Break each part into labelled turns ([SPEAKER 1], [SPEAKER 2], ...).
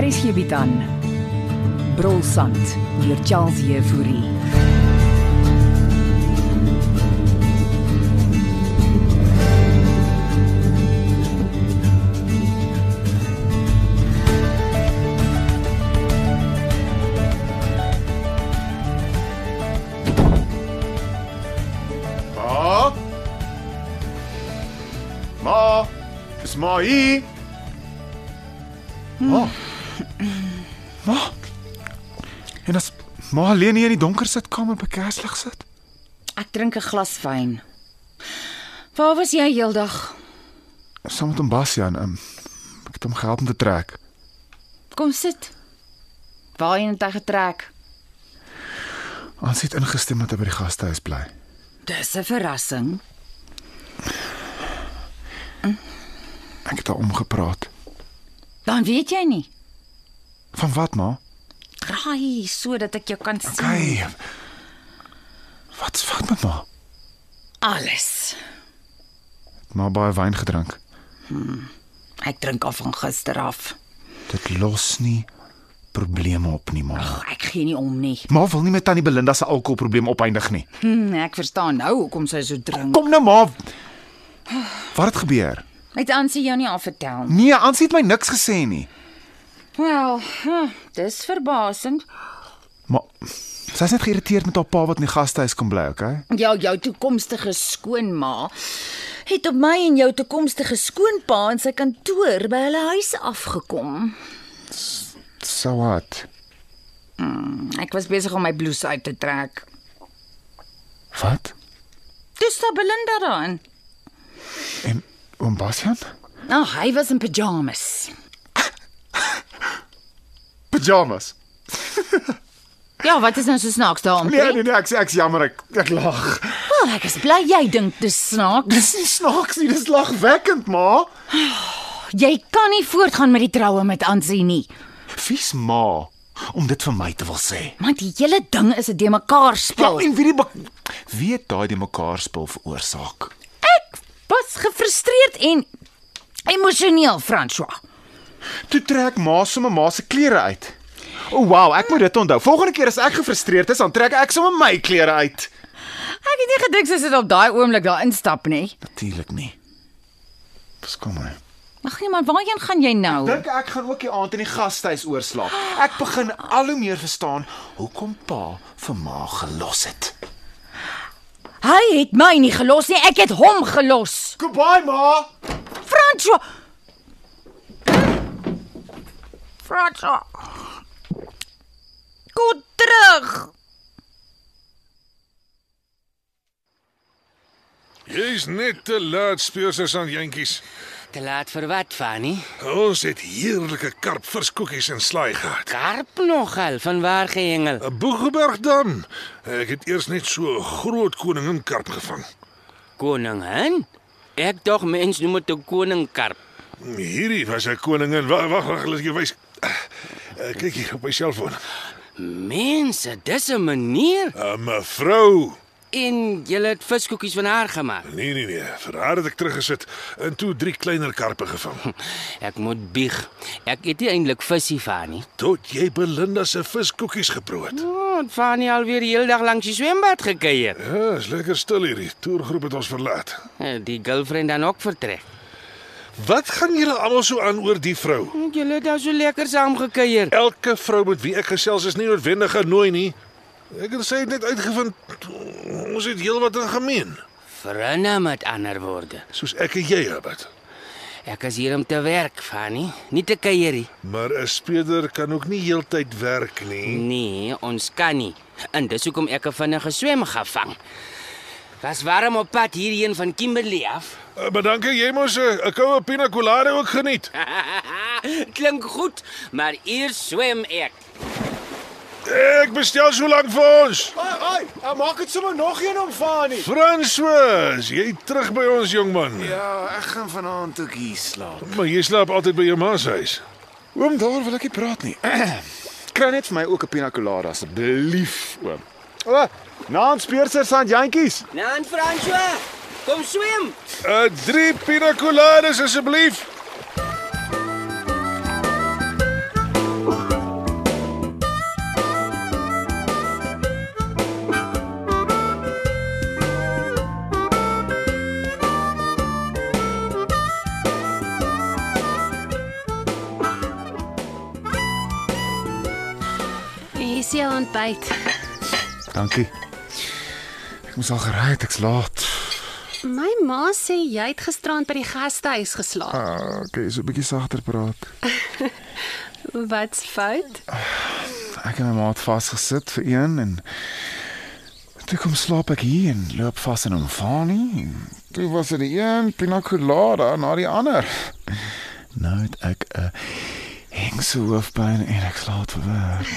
[SPEAKER 1] Hier is hierby dan. Brolsand deur Charles Jefouri.
[SPEAKER 2] Ma? Ma? Is ma hier? Ma? Hmm. Ma? En as ma alleen hier in die donker sitkamer by kerslig sit?
[SPEAKER 3] Ek drink 'n glas wyn. Waar was jy heeldag?
[SPEAKER 2] Saam met hom Bastian, um, ek het hom gehelp om te trek.
[SPEAKER 3] Kom sit. Waarheen het hy getrek?
[SPEAKER 2] Ons het ingestem dat hy by die gastehuis bly.
[SPEAKER 3] Dis 'n verrassing.
[SPEAKER 2] Ek het haar omgepraat.
[SPEAKER 3] Dan weet jy nie.
[SPEAKER 2] Van wat, ma?
[SPEAKER 3] Draai sodat ek jou kan sien.
[SPEAKER 2] Okay. Wat's fout met ma?
[SPEAKER 3] Alles.
[SPEAKER 2] Het Ma baie wyn gedrink.
[SPEAKER 3] Ek drink al van gister af.
[SPEAKER 2] Dit los nie probleme op nie, ma.
[SPEAKER 3] Ag, Oh, ek gee nie om nie.
[SPEAKER 2] Ma wil nie met tannie Belinda se alkoholprobleem opeindig nie.
[SPEAKER 3] Hm, ek verstaan nou hoekom sy so drink.
[SPEAKER 2] Kom nou maar. Wat het gebeur?
[SPEAKER 3] Het Ansie jou nie al vertel nie.
[SPEAKER 2] Nee, Ansie het my niks gesê nie.
[SPEAKER 3] Wel, hm, dis verbasend.
[SPEAKER 2] Maar sy's net geïrriteerd met haar pa wat in die gastehuis kom bly, okay?
[SPEAKER 3] Ja, jou toekomstige skoonma het op my en jou toekomstige skoonpa in sy kantoor by hulle huis afgekom.
[SPEAKER 2] So wat?
[SPEAKER 3] Ek was besig om my blouse uit te trek.
[SPEAKER 2] Wat?
[SPEAKER 3] Toe stap Belinda daarin.
[SPEAKER 2] En oom Bastian?
[SPEAKER 3] Ag, Nou, hy was in pyjamas.
[SPEAKER 2] Pyjamas.
[SPEAKER 3] Ja, wat is nou so snaaks daaroor?
[SPEAKER 2] Nee, nee, nee, ek sê ek's jammer, ek ek lag.
[SPEAKER 3] Wel, ek is bly jy dink dis snaaks.
[SPEAKER 2] Dis nie snaaks nie, dis lagwekkend, ma.
[SPEAKER 3] Jy kan nie voortgaan met die troue met Ansie nie.
[SPEAKER 2] Vies ma om dit vir my te wil sê.
[SPEAKER 3] Want die hele ding is 'n de mekaar
[SPEAKER 2] Ja,
[SPEAKER 3] spel.
[SPEAKER 2] en wie die bak- wie het daai die mekaar spil veroorsaak?
[SPEAKER 3] Ek was gefrustreerd en emosioneel, François.
[SPEAKER 2] Toe trek ma sommer ma se klere uit. O oh, wow, ek moet dit onthou. Volgende keer as ek gefrustreerd is, dan trek ek sommer my klere uit.
[SPEAKER 3] Ek het nie gedink sy sit op daai oomblik daar instap nie.
[SPEAKER 2] Natuurlik nie. Skom maar.
[SPEAKER 3] Ag nee man, waarheen gaan jy nou?
[SPEAKER 2] Dink ek gaan ook die aand in die gastehuis oorslaap. Ek begin al hoe meer verstaan hoekom pa vir ma gelos het.
[SPEAKER 3] Hy het my nie gelos nie, ek het hom gelos.
[SPEAKER 2] Goodbye ma.
[SPEAKER 3] Francois. Francois. Kom terug.
[SPEAKER 4] Jy's net te laat speurses aan jentjies.
[SPEAKER 5] Te laat vir wat, Fanny?
[SPEAKER 4] Ons het heerlike karpviskoekies en slaai gehad.
[SPEAKER 5] Karp nogal van waar gehengel.
[SPEAKER 4] 'n Boegeberg dam. Ek het eers net so 'n groot koningin karp gevang.
[SPEAKER 5] Koningin? Ek dog mens noem dit 'n koningkarp.
[SPEAKER 4] Hierdie was 'n koningin. Wag, wag, wag, laat ek jou wys. Eh, Kyk hier op my selfoon.
[SPEAKER 5] Mense, dis 'n manier.
[SPEAKER 4] 'n Mevrou.
[SPEAKER 5] En jy het viskoekies van haar gemaak.
[SPEAKER 4] Nee, nee, nee. Vir haar het ek teruggesit en toe drie kleiner karpe gevang.
[SPEAKER 5] Ek moet bieg. Ek eet nie eintlik visie, Fanny.
[SPEAKER 4] Tot jy Belinda se viskoekies geproe het.
[SPEAKER 5] Oh, Fanny alweer die hele dag langs die swembad gekuier.
[SPEAKER 4] Ja, is lekker stil hierdie. Toergroep het ons verlaat.
[SPEAKER 5] Eh, Die girlfriend dan ook vertrek.
[SPEAKER 4] Wat gaan julle almal so aan oor die vrou?
[SPEAKER 5] Jy het daar so lekker saam gekuier.
[SPEAKER 4] Elke vrou met wie ek gesels is nie noodwendig genooi nie. Ek het sê net uitgevind ons het heelwat in gemeen,
[SPEAKER 5] Vrinne met ander woorde.
[SPEAKER 4] soos ek en jy, Herbert.
[SPEAKER 5] Ek is hier om te werk, Fanny, nie te kuier nie.
[SPEAKER 4] Maar 'n speeder kan ook nie heeltyd werk nie.
[SPEAKER 5] Nee, ons kan nie. En dis hoekom ek 'n vinnige swem gevang. Was warm op pad hierheen van Kimberley af.
[SPEAKER 4] Uh, maar dankie, jy mos 'n uh, koue pina colada ook geniet.
[SPEAKER 5] Klink goed, maar hier swem ek.
[SPEAKER 4] Ek bestel so lank vir ons.
[SPEAKER 2] Ai, ai, ek Ja, maak dit sommer nog een om van nie.
[SPEAKER 4] François, jy terug by ons jong man. Ja.
[SPEAKER 2] Ja, ek gaan vanaand ook hier slaap.
[SPEAKER 4] Maar jy slaap altyd by jou ma se huis.
[SPEAKER 2] Oom, daar wil ek nie praat nie. Kry net vir my ook 'n pina colada asseblief, oom. O, oh, naam Speurser Sant Jantjies.
[SPEAKER 5] Nan Nou, François, kom swem.
[SPEAKER 4] 'n Eh, Drie pina coladas asseblief.
[SPEAKER 6] Hier is jou ontbyt.
[SPEAKER 2] Dankie. Ek moes al gery het, ek's laat.
[SPEAKER 6] My ma sê jy het gisterand by die gastehuis geslaap.
[SPEAKER 2] Ah, okay, so 'n bietjie sagter praat.
[SPEAKER 6] Wat's fout?
[SPEAKER 2] Ek en my maat vasgesit vir een en toe kom slaap ek hier en loop vas in 'n fani. Toe was dit die een pina colada na die ander. Nou het ek 'n hengse hoofpyn en ek slaap vir werk.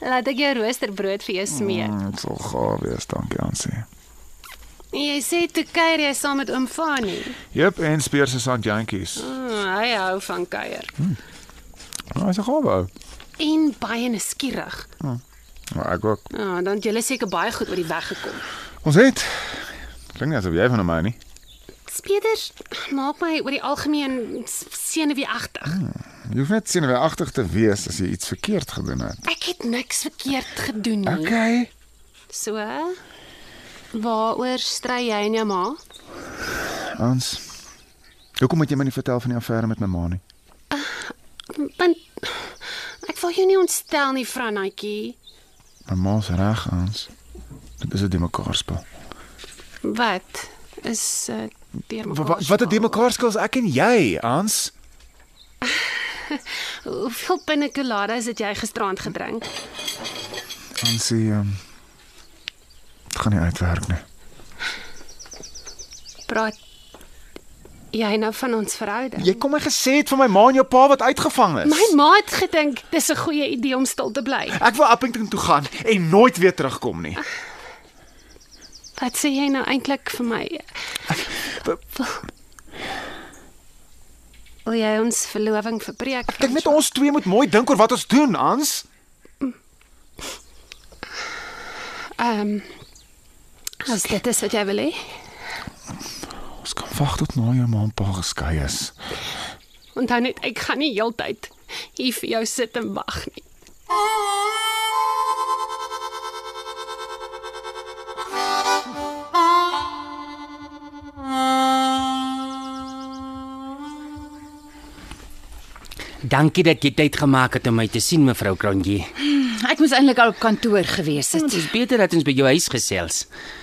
[SPEAKER 6] Laat ek jou roosterbrood vir jou smee.
[SPEAKER 2] Mm, Dit sal gaaf wees, dankie Ansie.
[SPEAKER 6] Jy sê toe kuier jy saam met oom Fanie.
[SPEAKER 2] Jep, en speers is aan jantjies.
[SPEAKER 6] Oh, hy hou van kuier.
[SPEAKER 2] Nou, hy's 'n gaaf ou.
[SPEAKER 6] En baie nuuskierig.
[SPEAKER 2] Maar Nou, ek ook.
[SPEAKER 6] Ja, oh, dan het julle seker baie goed oor die weg gekom.
[SPEAKER 2] Ons het klink nie asof jy van hom hou nie.
[SPEAKER 6] Speders maak my oor die algemeen s- senuweeagtig.
[SPEAKER 2] Jy hoef net senuweeagtig te wees as jy iets verkeerd gedoen het.
[SPEAKER 6] Ek het niks verkeerd gedoen
[SPEAKER 2] Nee.
[SPEAKER 6] nie.
[SPEAKER 2] Okay.
[SPEAKER 6] So waaroor stry jy en jou ma?
[SPEAKER 2] Ons Hoekom moet jy my nie vertel van die affære met my ma nie?
[SPEAKER 6] Want ek wil jou nie ontstel nie, Franetjie.
[SPEAKER 2] My ma's reg ons. Dit is 'n die mekaar spel.
[SPEAKER 6] Wat is uh, deur mekaar?
[SPEAKER 2] Wat wat 'n die
[SPEAKER 6] spel?
[SPEAKER 2] mekaar spel is ek en jy, Hans?
[SPEAKER 6] Hoeveel pinnekoladas het jy gisterand gedrink?
[SPEAKER 2] Ons sê ehm dit gaan nie uitwerk nie.
[SPEAKER 6] Praat jy nou van ons verhouding?
[SPEAKER 2] Jy kom my gesê het van my ma en jou pa wat uitgevang is.
[SPEAKER 6] My ma het gedink dis 'n goeie idee om stil te bly.
[SPEAKER 2] Ek wil Appington toe gaan en nooit weer terugkom nie.
[SPEAKER 6] Wat sê jy nou eintlik vir my? Wil jy ons verloving verbreek?
[SPEAKER 2] Dink net ons twee moet mooi dink oor wat ons doen, Hans.
[SPEAKER 6] Ehm um, as dit is wat jy wil hê.
[SPEAKER 2] Ons kan wag tot na jou ma en pa geskei is.
[SPEAKER 6] Onthou net ek gaan nie heeltyd hier vir jou sit en wag nie.
[SPEAKER 5] Dankie dat jy tyd gemaak het om my te sien, mevrou Cronje.
[SPEAKER 3] Ek moes eintlik al op kantoor gewees
[SPEAKER 5] Dit
[SPEAKER 3] het.
[SPEAKER 5] is beter dat ons by jou huis gesels.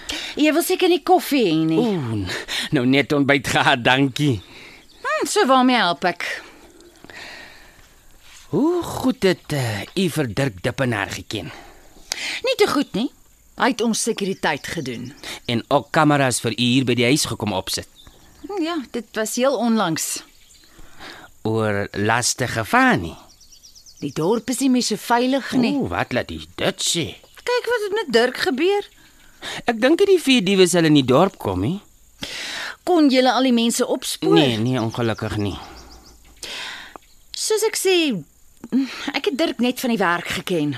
[SPEAKER 3] Hm, Jy wil seker nie koffie hê nie.
[SPEAKER 5] Oeh, nou net ontbyt gehad, dankie.
[SPEAKER 3] Hm, so waarmee help ek?
[SPEAKER 5] Hoe goed het uh, u vir Dirk Dippenaar geken
[SPEAKER 3] Nie te goed nie. Hy het ons sekuriteit gedoen.
[SPEAKER 5] en ook kameras vir u hier by die huis gekom opsit
[SPEAKER 3] Hm, Ja, dit was heel onlangs.
[SPEAKER 5] oor lastige Fani.
[SPEAKER 3] Die dorp is nie meer so veilig nie.
[SPEAKER 5] Ooh, wat laat u dit sê?
[SPEAKER 3] Kyk wat het met Dirk gebeur.
[SPEAKER 5] Ek dink nie die vier diewe sal in die dorp kom nie.
[SPEAKER 3] Kon julle al die mense opspoor?
[SPEAKER 5] Nee, nee, ongelukkig nie.
[SPEAKER 3] Soos ek sê, hm, ek het Dirk net van die werk geken.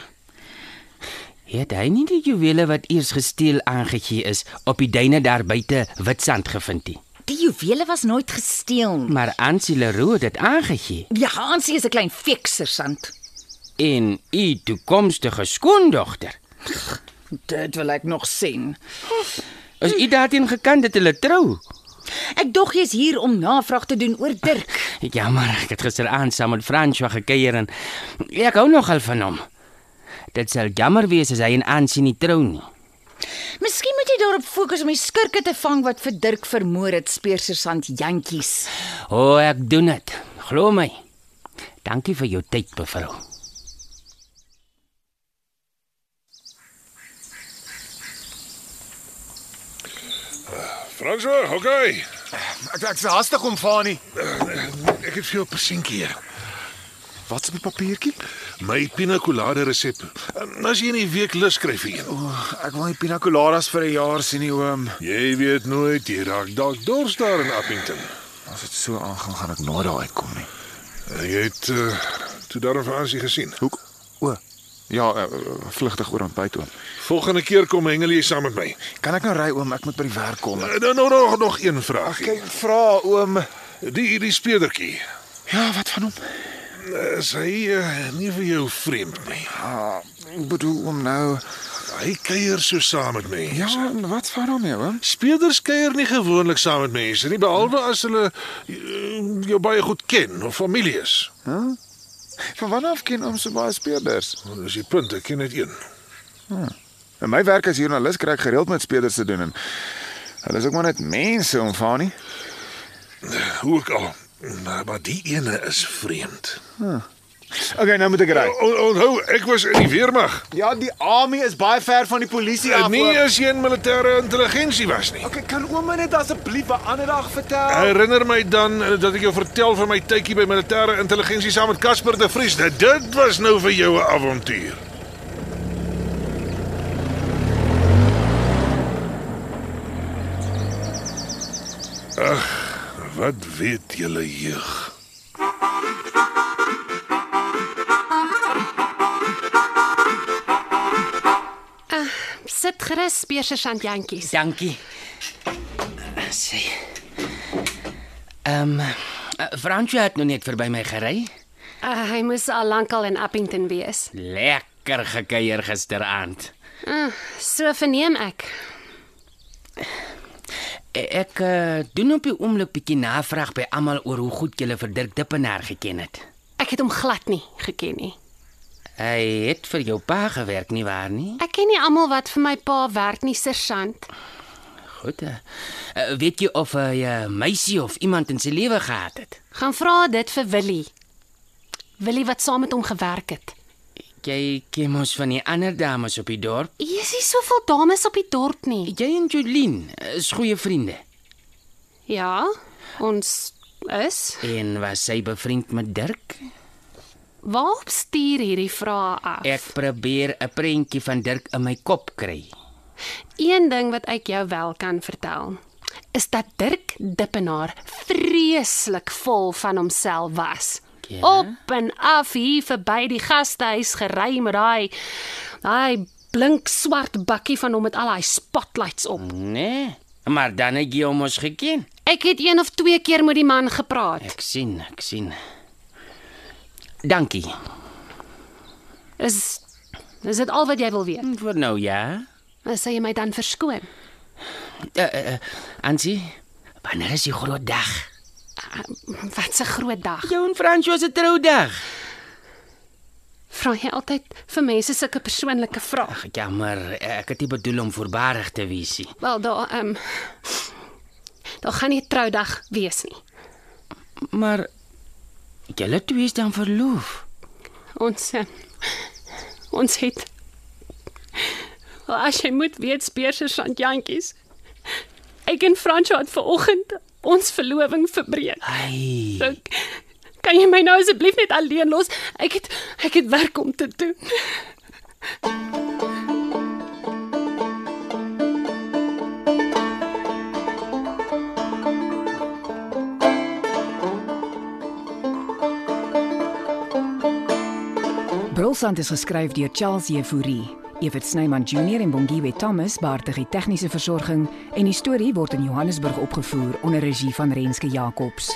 [SPEAKER 5] Het hy nie die juwele wat eers gesteel aangegee is op die duine daar buite Witstrand gevind nie?
[SPEAKER 3] Die juwele was nooit gesteel nie.
[SPEAKER 5] Maar Ansie Leroe het dit aangegee
[SPEAKER 3] Ja, Hansie is 'n klein fikser sant.
[SPEAKER 5] en u toekomstige skoondogter.
[SPEAKER 3] Dit wil ek nog sien.
[SPEAKER 5] Is u daarteen gekant dat hulle trou?
[SPEAKER 3] Ek dog jy's hier om navraag te doen oor Dirk.
[SPEAKER 5] Jammer, ek het gisteraand saam met François gekuier en ek hou nogal van hom. Dit sal jammer wees as hy en Ansie nie trou nie.
[SPEAKER 3] Miskien moet jy daarop fokus om die skurke te vang wat vir Dirk vermoor het, speursersant Jantjies.
[SPEAKER 5] O, oh, ek doen dit. Glo my. Dankie vir jou tyd, mevrou.
[SPEAKER 4] François, okay.
[SPEAKER 2] Ek ek's haastig om Fani.
[SPEAKER 4] Ek het vir jou 'n persentjie hier.
[SPEAKER 2] Wat se papiertjie?
[SPEAKER 4] My pina colada resep. En As jy in die week lus kry vir een.
[SPEAKER 2] Ek wil nie pina coladas vir 'n jaar sien nie, oom.
[SPEAKER 4] Jy weet nooit, jy raak dalk dors daar in Appington.
[SPEAKER 2] As dit so aangaan, gaan ek nooit daar uitkom nie.
[SPEAKER 4] Jy het uh, toe daarom vir Ansie gesien.
[SPEAKER 2] Hoek. O. Ja, eh, vlugtig oor ontbyt oom.
[SPEAKER 4] Volgende keer kom hengel jy saam met my.
[SPEAKER 2] Kan ek nou ry oom? Ek moet by die werk kom.
[SPEAKER 4] Eh, Nou nog nog nog een vraag.
[SPEAKER 2] Kyk, vra oom.
[SPEAKER 4] Die die speurdertjie.
[SPEAKER 2] Ja, wat van hom?
[SPEAKER 4] Is hy uh, nie vir jou vreemd nie?
[SPEAKER 2] Ah, ek bedoel oom nou.
[SPEAKER 4] Hy kuier so saam met mense.
[SPEAKER 2] Ja, en wat van hom nou oom?
[SPEAKER 4] Speerders kuier nie gewoonlik saam met mense nie, behalwe as hulle eh, jou baie goed ken of familie is.
[SPEAKER 2] Van wanneer af ken oom so baie speerders?
[SPEAKER 4] Want Dis die punt, ek ken net een.
[SPEAKER 2] In my werk as joernalis kry ek gereeld met speerders te doen en hulle is ook maar net mense om van nie.
[SPEAKER 4] Hoe ook al. Maar maar die ene is vreemd.
[SPEAKER 2] Okay, nou moet ek ry.
[SPEAKER 4] On, onthou, ek was in die weermag.
[SPEAKER 2] Ja, die army is baie ver van die polisie
[SPEAKER 4] Ja, nie as jy in militêre intelligensie was nie.
[SPEAKER 2] Okay, kan oom my net asseblief 'n ander dag vertel?
[SPEAKER 4] Herinner my dan eh, dat ek jou vertel van my tydjie by militêre intelligensie saam met Casper de Vries. Nou, Dit was nou vir jou 'n avontuur. Ag, wat weet julle jeug?
[SPEAKER 6] Sit gerus, speersergeant Jantjies.
[SPEAKER 5] Dankie. Eh, Sê. Ehm um, Francois het nog net verby my gery.
[SPEAKER 6] Uh, hy moes al lankal in Appington wees.
[SPEAKER 5] Lekker gekuier gisteraand.
[SPEAKER 6] Uh, so verneem ek.
[SPEAKER 5] E- Ek uh, doen op die oomblik bietjie navraag by almal oor hoe goed julle vir Dirk Dippenaar geken het.
[SPEAKER 6] Ek het hom glad nie geken nie.
[SPEAKER 5] Hy het vir jou pa gewerk nie waar nie?
[SPEAKER 6] Ek ken nie almal wat vir my pa werk nie, sergeant.
[SPEAKER 5] Goed. Uh, weet jy of hy 'n uh, meisie of iemand in sy lewe gehad het?
[SPEAKER 6] Gaan vra dit vir Willie. Willie wat saam met hom gewerk het.
[SPEAKER 5] Jy ken mos van die ander dames op die dorp.
[SPEAKER 6] Hier is nie soveel dames op die dorp nie.
[SPEAKER 5] Jy en Jolien is goeie vriende.
[SPEAKER 6] Ja, ons is.
[SPEAKER 5] En was sy bevriend met Dirk?
[SPEAKER 6] Waarop stuur hierdie vrae af?
[SPEAKER 5] Ek probeer 'n prentjie van Dirk in my kop kry.
[SPEAKER 6] Een ding wat ek jou wel kan vertel, is dat Dirk Dippenaar vreeslik vol van homself was.
[SPEAKER 5] Ja?
[SPEAKER 6] Op en af hier verby die gastehuis gery met daai daai blink swart bakkie van hom met al daai spotlights op.
[SPEAKER 5] Nee, maar dan het jy hom mos geken.
[SPEAKER 6] Ek het een of twee keer met die man gepraat.
[SPEAKER 5] Ek sien, ek sien. Dankie.
[SPEAKER 6] Is is dit al wat jy wil weet?
[SPEAKER 5] Vir nou ja.
[SPEAKER 6] Sê jy my dan verskoon?
[SPEAKER 5] Uh, uh, uh, Ansie, wanneer is die groot dag?
[SPEAKER 6] Wat 'n groot dag.
[SPEAKER 5] Jou en Francois se troudag.
[SPEAKER 6] Vra jy altyd vir mense sulke persoonlike vrae?
[SPEAKER 5] Ag, Jammer, ek het nie bedoel om voorbarig te wees nie.
[SPEAKER 6] Wel daar ehm um, daar gaan nie 'n troudag wees nie.
[SPEAKER 5] Maar julle twee is dan verloof.
[SPEAKER 6] Ons um, ons het Wel, as jy moet weet speerse sandjantjies. Ek en Fransjo het ver oggend ons verloving verbreek.
[SPEAKER 5] Ai,
[SPEAKER 6] So, kan jy my nou asseblief net alleen los? Ek het ek het werk om te doen.
[SPEAKER 1] Brulsand is geskryf deur Charles Jefouri. Evert Snyman Junior en Bongwe Thomas baartig die tegniese versorging en die storie word in Johannesburg opgevoer onder regie van Renske Jacobs.